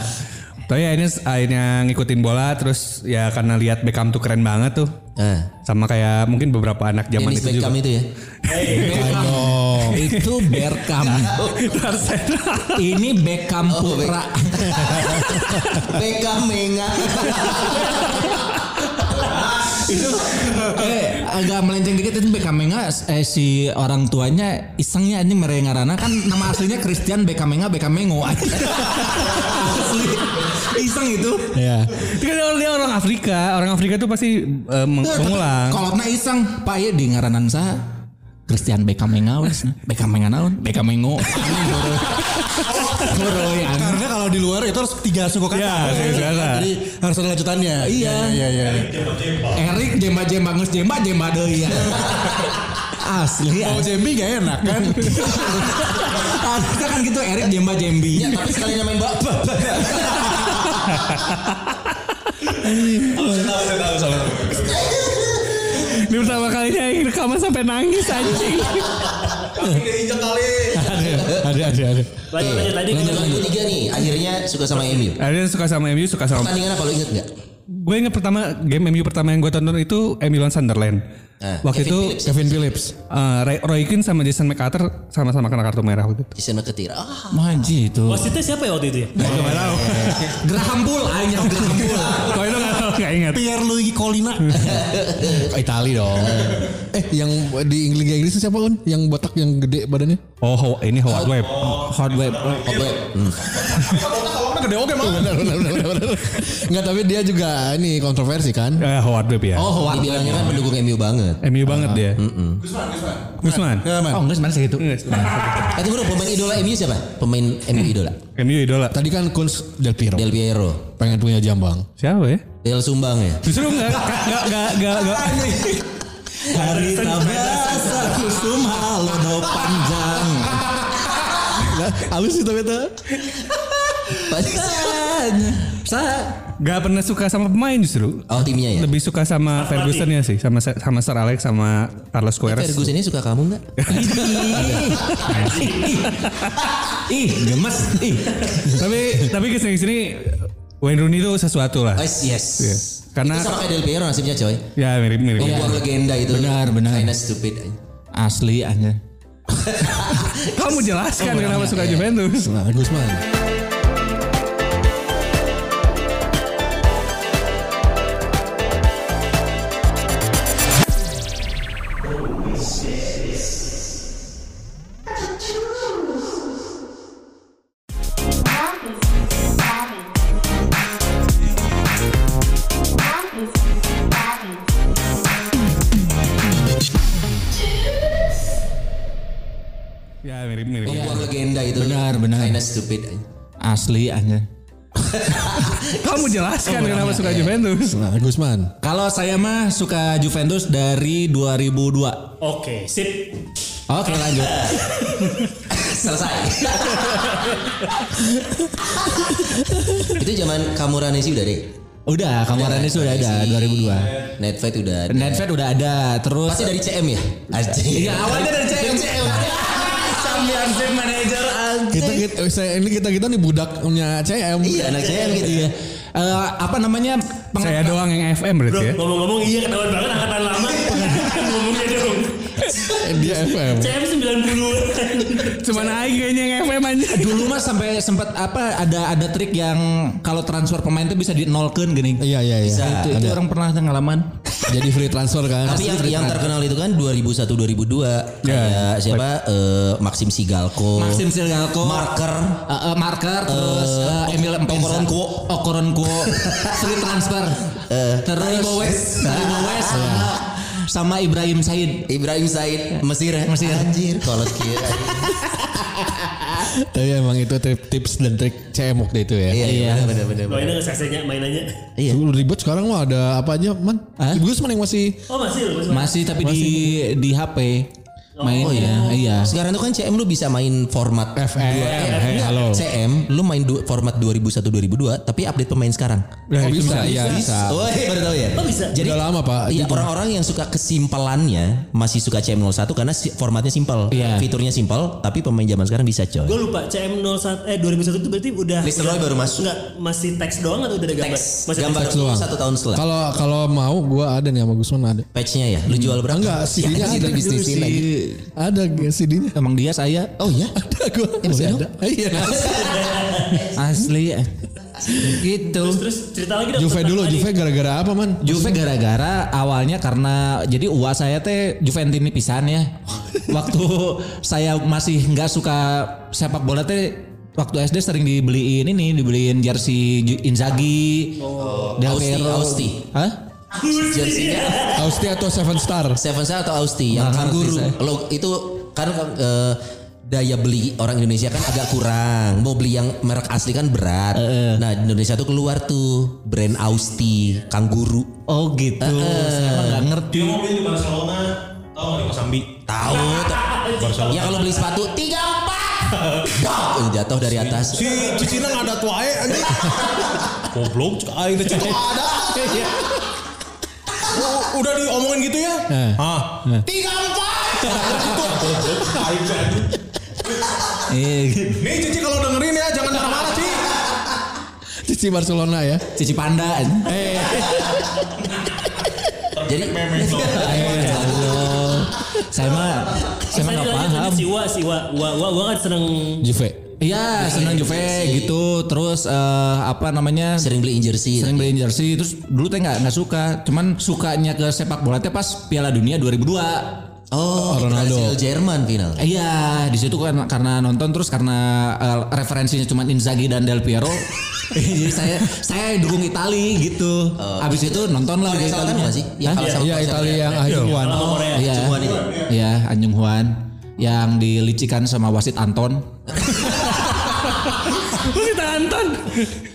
Speaker 9: tapi akhirnya akhirnya ngikutin bola terus ya karena lihat Beckham tuh keren banget tuh
Speaker 3: Eh.
Speaker 9: sama kayak mungkin beberapa anak zaman
Speaker 3: Dennis
Speaker 9: itu juga
Speaker 3: Beckham itu ya.
Speaker 5: Oh, itu Berkam.
Speaker 3: Oh,
Speaker 5: Ini Beckham Putra.
Speaker 3: Beckham Menga.
Speaker 5: eh, agak melenceng dikit itu Beckham Menga eh, si orang tuanya isengnya anjing merengarana kan nama aslinya Christian Beckham Menga Beckham Mengo. Asli. Iseng itu. Iya.
Speaker 9: Itu kan orang- dia orang Afrika orang Afrika tuh pasti eh, meng- mengulang
Speaker 5: Kalau na iseng, Pak ya di ngaranan sa Christian Beckham Menga wes. Beckham Menga naon? Beckham Mengo. Anjing, boro. Boro, ya, anjing.
Speaker 1: Karena kalau di luar itu harus tiga suku kata.
Speaker 9: Iya, tiga suku kata.
Speaker 1: Jadi harus ada lanjutannya. Iya. Iya, iya.
Speaker 5: Erik jemba jemba nges jemba jemba deui ya. Asli.
Speaker 1: Mau jembi gak enak kan?
Speaker 5: Kita kan gitu Erik jemba jembi.
Speaker 3: Ya, tapi sekali main bak. bak- bak.
Speaker 9: ini pertama kalinya rekaman sampai nangis anjing
Speaker 5: Ada ada ada.
Speaker 6: Lanjut lanjut tadi
Speaker 3: Lanjut
Speaker 5: Iya.
Speaker 3: lagu tiga nih, akhirnya suka sama MU.
Speaker 9: akhirnya suka sama MU suka sama
Speaker 3: Pertandingan apa lu inget nggak?
Speaker 9: gue inget pertama game MU pertama yang gue tonton itu MU lawan Sunderland
Speaker 3: Ah, Kevin
Speaker 9: waktu itu
Speaker 3: Phillips.
Speaker 5: Kevin Phillips.
Speaker 9: eh, Roy, Roy Keane sama Jason McCarter sama-sama kena kartu merah waktu itu
Speaker 3: Jason McAteer. Ah,
Speaker 5: Manji itu.
Speaker 6: wasitnya siapa ya waktu itu ya?
Speaker 5: Graham Bull aja Graham Bull.
Speaker 9: Kok itu nggak tahu nggak ingat
Speaker 1: Pierluigi Colina.
Speaker 5: Itali dong. Eh yang di Liga Inggris itu siapa Un? Yang botak yang gede badannya?
Speaker 9: oh Ho- ini Howard Webb
Speaker 5: Hard web.
Speaker 3: Cobweb.
Speaker 1: Gede oke mah.
Speaker 5: Benar benar benar benar. Enggak tapi dia juga ini kontroversi kan?
Speaker 9: Eh, Howard Webb ya
Speaker 5: Oh, Howard
Speaker 3: Dibilangnya kan pendukung MU banget.
Speaker 9: MU banget dia Gusman
Speaker 1: Ya, man.
Speaker 5: Oh, enggak sebenarnya segitu.
Speaker 3: Tapi bro, Eh, pemain idola MU siapa? Pemain MU idola.
Speaker 9: MU idola
Speaker 5: Tadi kan Kunz Del Piero
Speaker 3: Del Piero.
Speaker 5: pengen punya jambang.
Speaker 9: siapa ya
Speaker 3: Del Sumbang ya.
Speaker 9: justru nggak nggak nggak nggak- nggak
Speaker 5: Hari tabasa kusum halono panjang. Halus sih tapi itu.
Speaker 9: nggak pernah suka sama pemain justru
Speaker 3: Oh timnya ya.
Speaker 9: lebih suka sama Ferguson ya sih sama sama Sir Alex sama Carlos Queiroz
Speaker 3: Ferguson ini suka kamu nggak?
Speaker 5: Ih, gemes. Ih.
Speaker 9: tapi tapi kesini sini Wayne Rooney itu sesuatu lah
Speaker 3: Oh, yes. yes.
Speaker 9: Iya. Karena-
Speaker 3: itu sama kayak Del Piero nasibnya coy.
Speaker 9: ya mirip mirip
Speaker 4: Iya.
Speaker 3: Membuang legenda itu.
Speaker 5: Iya. Benar, benar.
Speaker 3: Kinda stupid. eh.
Speaker 5: Asli aja.
Speaker 9: kamu jelaskan kan
Speaker 4: Iya.
Speaker 9: kenapa suka Juventus
Speaker 5: Nah, Gusman.
Speaker 4: Iya.
Speaker 9: ya mirip mirip
Speaker 3: Membuang legenda itu.
Speaker 5: Benar, benar.
Speaker 3: Kinda stupid.
Speaker 5: eh. Asli aja.
Speaker 9: kamu jelaskan kenapa suka Juventus
Speaker 5: Nah, Gusman. Kalau saya mah suka Juventus dari 2002.
Speaker 6: Oke, sip.
Speaker 5: Oke, lanjut.
Speaker 3: Selesai. itu zaman Kamuranesi udah deh.
Speaker 5: Udah, kamarannya sudah ada 2002.
Speaker 3: Netfet udah ada.
Speaker 5: Netfed udah ada, terus
Speaker 3: Pasti dari CM ya? Iya awalnya dari CM. CM. Sambian Sip Manager anjing.
Speaker 5: kita, kita saya- ini kita kita nih budak punya CM.
Speaker 3: Iya anak CM gitu ya.
Speaker 5: Eh, apa namanya? Peng-
Speaker 9: saya doang yang FM berarti ya
Speaker 6: Ngomong-ngomong iya ketahuan banget angkatan lama. Ngomongnya dong.
Speaker 5: dia FM.
Speaker 6: CM 90.
Speaker 9: cuman Aing kayaknya yang FM aja
Speaker 5: Dulu mah sampai sempat apa ada ada trik yang kalau transfer pemain tuh bisa di nolkan gini. Iya iya iya. Itu, itu orang pernah pengalaman. Jadi free transfer kan.
Speaker 3: Tapi yang yang terkenal itu kan 2001 2002 kayak siapa eh, Maxim Sigalko.
Speaker 5: Maxim Silgalko
Speaker 3: Marker.
Speaker 5: Eh, Oh. eh, marker terus eh, Emil Empensa
Speaker 3: Okoronquo.
Speaker 5: Okoronquo free transfer Eh. terus
Speaker 3: Taribo West.
Speaker 5: Taribo West sama, sama Ibrahim Said
Speaker 3: Ibrahim Said Mesir ya?
Speaker 5: Mesir.
Speaker 3: Anjir kalau kia.
Speaker 5: Tapi emang itu tip- tips dan trik CM waktu itu ya.
Speaker 3: Iya iya benar benar.
Speaker 6: Doainnya nggak sesenya mainannya.
Speaker 3: Iya.
Speaker 5: Dulu ribet sekarang mah ada apa aja man? Bagus mana yang masih
Speaker 6: Oh masih loh.
Speaker 5: masih tapi di di HP. main
Speaker 3: Oh iya.
Speaker 5: iya.
Speaker 3: Sekarang tuh kan CM lu bisa main format
Speaker 4: FM.
Speaker 3: dua-
Speaker 4: Hey,
Speaker 3: eh, enggak.
Speaker 4: halo.
Speaker 3: CM lu main du- format 2001 2002 tapi update pemain sekarang.
Speaker 4: Ya,
Speaker 3: Bisa.
Speaker 4: bisa, iya, bisa.
Speaker 3: Oh, iya, baru tahu ya.
Speaker 6: Oh, bisa.
Speaker 3: Jadi
Speaker 4: Udah lama, Pak.
Speaker 3: Iya,
Speaker 4: Gitu.
Speaker 3: orang-orang yang suka kesimpelannya masih suka CM01 karena si- formatnya simpel.
Speaker 5: Iya.
Speaker 3: Fiturnya simpel, tapi pemain zaman sekarang bisa coy.
Speaker 6: Gue lupa CM01 eh 2001 itu berarti udah
Speaker 3: Listeroy
Speaker 6: udah-
Speaker 3: baru masuk.
Speaker 6: Enggak, masih teks doang atau udah ada gambar?
Speaker 3: Teks
Speaker 6: Masih
Speaker 3: gambar
Speaker 6: teks
Speaker 3: cuma
Speaker 6: doang.
Speaker 3: satu tahun setelah.
Speaker 4: Kalau kalau mau gua ada nih sama Gusman ada.
Speaker 3: Patchnya ya, lu jual berapa?
Speaker 4: Enggak, CD-nya
Speaker 3: Ya, di
Speaker 4: ada dulu
Speaker 5: Iya.
Speaker 3: bisnisin lagi.
Speaker 4: sih. Ada CD-nya.
Speaker 5: Emang dia saya
Speaker 3: Oh iya.
Speaker 4: Ada gua.
Speaker 3: masih
Speaker 4: Masih
Speaker 3: ada?
Speaker 4: ada. Iya.
Speaker 5: asli
Speaker 6: Terus
Speaker 5: gitu.
Speaker 6: terus cerita lagi dong.
Speaker 4: Juve
Speaker 6: tentang
Speaker 4: dulu,
Speaker 6: tadi.
Speaker 4: Juve gara-gara apa, Man?
Speaker 5: Juve gara-gara awalnya karena jadi uak saya teh Juventini pisan ya. Waktu saya masih nggak suka sepak bola teh waktu SD sering dibeliin ini dibeliin jersey Ju- Inzaghi,
Speaker 3: Oh.
Speaker 5: Del
Speaker 3: Austi,
Speaker 5: Piero.
Speaker 3: Austi.
Speaker 5: Hah?
Speaker 3: Jersinya
Speaker 4: Austi atau Seven Star?
Speaker 3: Seven Star atau Austi yang
Speaker 5: Nggak ngerti
Speaker 3: kangguru.
Speaker 5: Nah, saya.
Speaker 3: Lo itu kan eh, daya beli orang Indonesia kan agak kurang. Mau beli yang merek asli kan berat.
Speaker 5: Eh,
Speaker 3: Nah, di Indonesia tuh keluar tuh brand Austi, kangguru.
Speaker 5: Oh gitu. Saya emang nggak ngerti.
Speaker 4: di Barcelona, tau gak di Kosambi?
Speaker 3: Tahu tuh. Ya kalau beli sepatu tiga empat. Dah, eh, jatuh dari atas.
Speaker 4: Cicina ada tuae anjing. Goblok cek aing teh Iya. cek. Ada. Udah diomongin gitu ya? Ah.
Speaker 3: Tiga empat.
Speaker 5: Eh,
Speaker 4: Nih Cici kalau dengerin ya jangan marah-marah Cici. Cici Barcelona ya.
Speaker 5: Cici Panda.
Speaker 3: Jadi
Speaker 5: Saya mah saya mah
Speaker 6: Tadi
Speaker 5: nggak
Speaker 6: lanjut,
Speaker 5: paham.
Speaker 6: lanjut, Si Wa, si Wa, Wa, Wa, Wa kan seneng
Speaker 4: Juve.
Speaker 5: Iya, senang Juve gitu. Terus eh, apa namanya?
Speaker 3: sering beli jersey.
Speaker 5: sering beliin jersey terus dulu teh nggak nggak suka cuman sukanya ke sepak bola teh pas Piala Dunia 2002
Speaker 3: Oh,
Speaker 4: Ronaldo.
Speaker 3: Brazil Jerman final.
Speaker 5: Eh, iya di situ kan karena nonton terus karena eh, referensinya cuma Inzaghi dan Del Piero jadi saya saya dukung Itali gitu abis itu nonton lah
Speaker 3: Oh. Korea
Speaker 5: di
Speaker 3: Selatan
Speaker 5: Itali.
Speaker 3: bukan sih? Yang
Speaker 5: Hah?
Speaker 3: kalah sama
Speaker 4: Iya
Speaker 3: Korea
Speaker 4: Italia
Speaker 3: Selatan.
Speaker 4: yang akhir one.
Speaker 6: sama Korea.
Speaker 5: iya
Speaker 3: Juan itu.
Speaker 5: iya Anjung Huan yang dilicikan sama wasit Anton
Speaker 6: Kita Anton.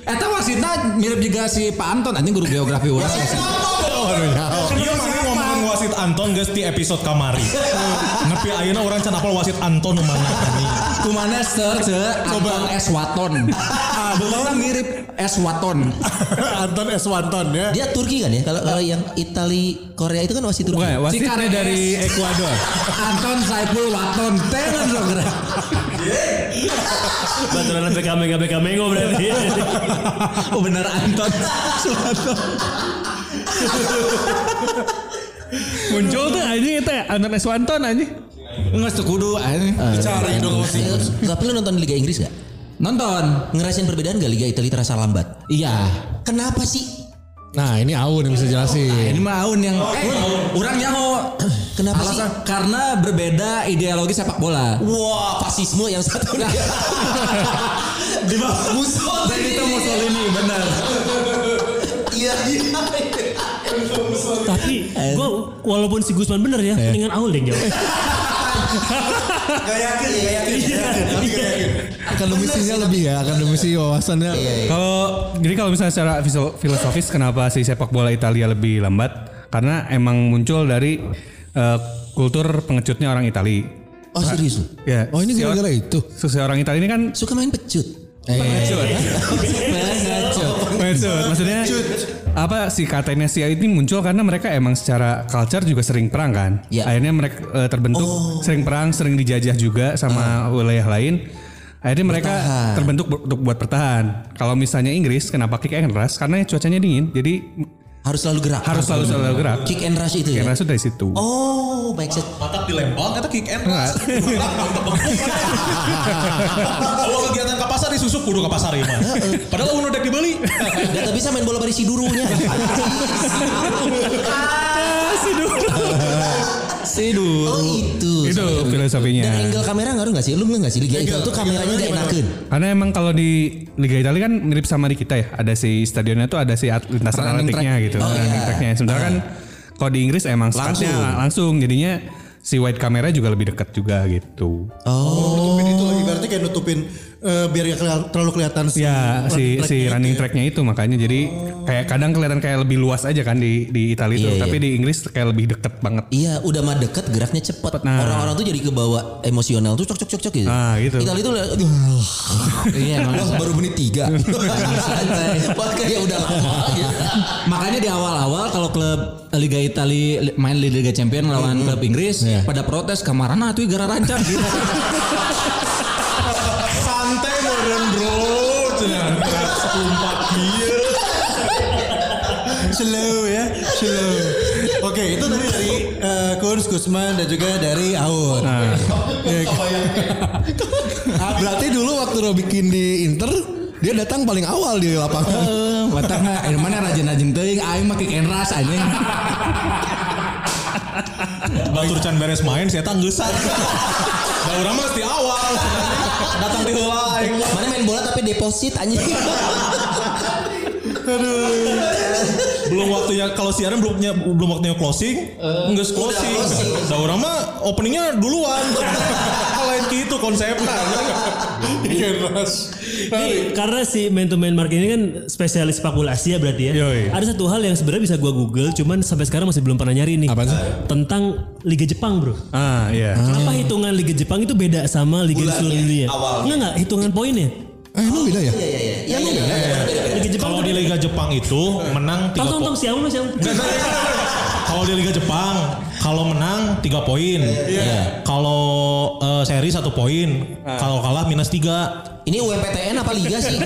Speaker 5: Eta wasitnya mirip juga si Pak Anton anjing guru geografi orang
Speaker 4: Iya mana ngomongin wasit Anton guys di episode kamari. Nepi ayeuna orang can apal wasit Anton mana kami.
Speaker 5: Kumana search Coba es waton. Orang mirip es waton.
Speaker 1: Anton S. Wanton ya.
Speaker 3: Dia Turki kan ya? Kalau kalau
Speaker 5: Nah.
Speaker 3: yang Itali Korea itu kan wasit Turki.
Speaker 9: Bukan,
Speaker 5: Cikarang
Speaker 9: wasitnya dari
Speaker 5: es.
Speaker 9: Ekuador.
Speaker 5: Anton Saiful Waton. Tenang dong. Gra.
Speaker 6: Baturan BKM enggak BKM ngo berarti.
Speaker 5: Oh benar Anton Suwaton.
Speaker 9: Muncul tuh anjing itu ya, Anton Eswanton anjing.
Speaker 5: Nges tuh kudu anjing.
Speaker 1: Cari dong wasit.
Speaker 3: Eh, Tapi lu nonton Liga Inggris gak?
Speaker 5: Nonton.
Speaker 3: Ngerasain perbedaan gak Liga Italia terasa lambat?
Speaker 5: Iya.
Speaker 3: Kenapa sih?
Speaker 4: Nah ini Aun yang bisa jelasin.
Speaker 5: Ini mah Aun yang eh, orang nyaho.
Speaker 3: Kenapa
Speaker 5: Alasan karena berbeda ideologi sepak bola.
Speaker 3: Wah, fasisme yang satu. Di bawah Mussolini.
Speaker 5: Dan itu Mussolini benar.
Speaker 3: Iya, iya.
Speaker 6: Tapi gue walaupun si Gusman bener ya, mendingan Aul deh jawab.
Speaker 3: Gak yakin, gak yakin.
Speaker 4: Akademisinya lebih ya, akademisi wawasannya.
Speaker 9: Kalau jadi kalau misalnya secara fiso- filosofis kenapa si sepak bola Italia lebih lambat? Karena emang muncul dari eh, kultur pengecutnya orang Itali.
Speaker 3: Oh serius lu?
Speaker 9: Ya.
Speaker 4: Oh ini
Speaker 9: si or-
Speaker 4: gara-gara itu.
Speaker 9: se- Seorang Itali ini kan
Speaker 3: Suka main pecut.
Speaker 9: pengecut. Pengecut. Maksudnya apa si katanya si ini muncul karena mereka emang secara culture juga sering perang kan.
Speaker 3: Ya.
Speaker 9: Akhirnya mereka eh, terbentuk
Speaker 3: Oh.
Speaker 9: sering perang, sering dijajah juga sama
Speaker 3: Ah.
Speaker 9: wilayah lain. Akhirnya mereka terbentuk bu- untuk buat bertahan. Kalau misalnya Inggris kenapa kick and rush? Karena cuacanya dingin. Jadi
Speaker 3: Harus selalu gerak.
Speaker 9: harus selalu selalu gerak.
Speaker 3: Kick and rush itu
Speaker 9: Kick
Speaker 3: ya?
Speaker 9: and rush itu dari situ.
Speaker 3: Oh, baik set.
Speaker 10: Patak dilempar kata kick and rush. Kalau kegiatan ke pasar disusuk kudu ke pasar ya mah. Padahal udah dek dibeli.
Speaker 3: Gak bisa main bola barisi durunya.
Speaker 9: Ah,
Speaker 5: Sidu.
Speaker 3: Oh itu.
Speaker 9: itu
Speaker 3: Dan
Speaker 9: filosofinya.
Speaker 3: angle kamera ngaruh gak sih? Lu nggak nggak sih? Liga Italia tuh kameranya gak enakin.
Speaker 9: Karena emang kalau di Liga Italia kan mirip sama di kita ya. Ada si stadionnya tuh ada si at- lintasan
Speaker 5: Running
Speaker 9: atletiknya gitu. running tracknya. Sementara kan kalau di Inggris emang startnya langsung. Jadinya si wide kamera juga lebih dekat juga gitu.
Speaker 1: Oh. Nutupin itu lagi berarti kayak nutupin eh, biar gak kelihat- terlalu kelihatan si
Speaker 9: Ya si
Speaker 1: track-nya
Speaker 9: si
Speaker 1: itu
Speaker 9: running
Speaker 1: ya.
Speaker 9: tracknya itu makanya jadi kayak kadang kelihatan kayak lebih luas aja kan di di Italia itu
Speaker 3: Iya,
Speaker 9: tapi di Inggris kayak lebih deket banget.
Speaker 3: Iya, udah mah deket geraknya cepet.
Speaker 9: Nah.
Speaker 3: Orang-orang tuh jadi kebawa emosional tuh cok cok cok cok gitu.
Speaker 9: Nah, gitu.
Speaker 3: Itali tuh liat, aduh.
Speaker 5: Iya, emang.
Speaker 3: Wah, baru menit tiga. Santai. Wah, kayak udah lama gitu.
Speaker 5: Makanya di awal-awal kalau klub Liga Itali li- main di Liga Champion lawan klub Inggris pada protes kamarana tuh gara rancang gitu.
Speaker 10: Santai meren bro. Cenah. Sumpah kieu.
Speaker 1: Slow ya, slow. Oke, itu tadi dari eh, Kurs Gusman dan juga dari Aun. Ya,
Speaker 3: Ah, berarti dulu waktu lo bikin di Inter, dia datang paling awal di lapangan.
Speaker 5: Batang ah, air mana rajin-rajin teuing aing mah kick and rush anjing.
Speaker 10: Batur can beres main saya tanggesan. Da urang mah mesti awal. Datang di heula aing.
Speaker 3: Mana main bola tapi deposit anjing.
Speaker 10: Belum waktunya kalau siaran belum punya- belum waktunya closing, enggak Eh, closing.
Speaker 3: closing.
Speaker 10: Da urang mah openingnya duluan. Lain gitu konsepnya. Iya,
Speaker 9: Iya.
Speaker 6: Ini karena si man to man marketing ini kan spesialis sepak bola Asia berarti ya.
Speaker 9: Yoi.
Speaker 6: Ada satu hal yang sebenarnya bisa gua Google, cuman sampai sekarang masih belum pernah nyari nih.
Speaker 9: Apaan sih?
Speaker 6: Tentang Liga Jepang, Bro.
Speaker 9: Ah iya.
Speaker 6: Kenapa hitungan Liga Jepang itu beda sama Liga di seluruh dunia? Enggak enggak, hitungan poinnya.
Speaker 1: eh, emang beda ya?
Speaker 3: Iya, iya, iya.
Speaker 6: Liga Jepang
Speaker 4: Kalau
Speaker 6: itu
Speaker 4: di
Speaker 6: beda.
Speaker 4: Liga Jepang itu menang 3
Speaker 6: Tong tong
Speaker 4: poin.
Speaker 6: tong siapa lu siapa?
Speaker 4: Kalau di Liga Jepang, kalau menang 3 poin. Iya. Kalau eh, seri 1 poin. Kalau kalah minus 3.
Speaker 3: Ini UMPTN apa liga sih?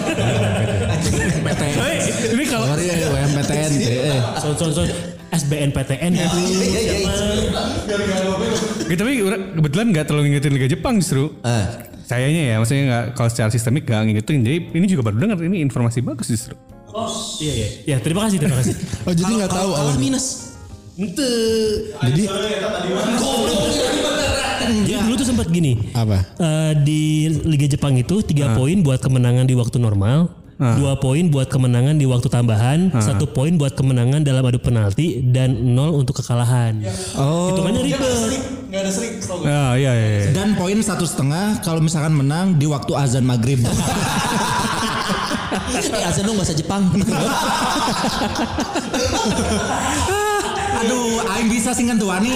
Speaker 6: Hei, ini kalau
Speaker 5: Sorry eh, UMPTN. eh.
Speaker 6: son son son SBNPTN ya.
Speaker 3: Iya, iya, iya.
Speaker 9: Gitu, tapi ura- kebetulan nggak terlalu ngikutin Liga Jepang justru. Sayangnya ya maksudnya nggak kalau secara sistemik nggak ngikutin. Jadi ini juga baru dengar ini informasi bagus justru.
Speaker 6: Iya iya. Ya, terima kasih, terima kasih.
Speaker 1: Oh, jadi nggak tahu
Speaker 3: Kalah
Speaker 1: Aun.
Speaker 3: minus.
Speaker 6: Ente.
Speaker 1: Jadi Iya.
Speaker 6: Jadi dulu tuh sempat gini.
Speaker 1: apa? Ah.
Speaker 6: Eh, di Liga Jepang itu tiga poin buat kemenangan di waktu normal, dua poin buat kemenangan di waktu tambahan,
Speaker 1: Ah.
Speaker 6: satu poin buat kemenangan dalam adu penalti dan nol untuk kekalahan. Oh. Hitungannya ribet.
Speaker 9: Ah iya iya. iya.
Speaker 5: Dan poin satu setengah kalau misalkan menang di waktu azan maghrib.
Speaker 3: Eh, azan dong bahasa Jepang.
Speaker 5: Ah, Aduh, aing bisa singkan tuani.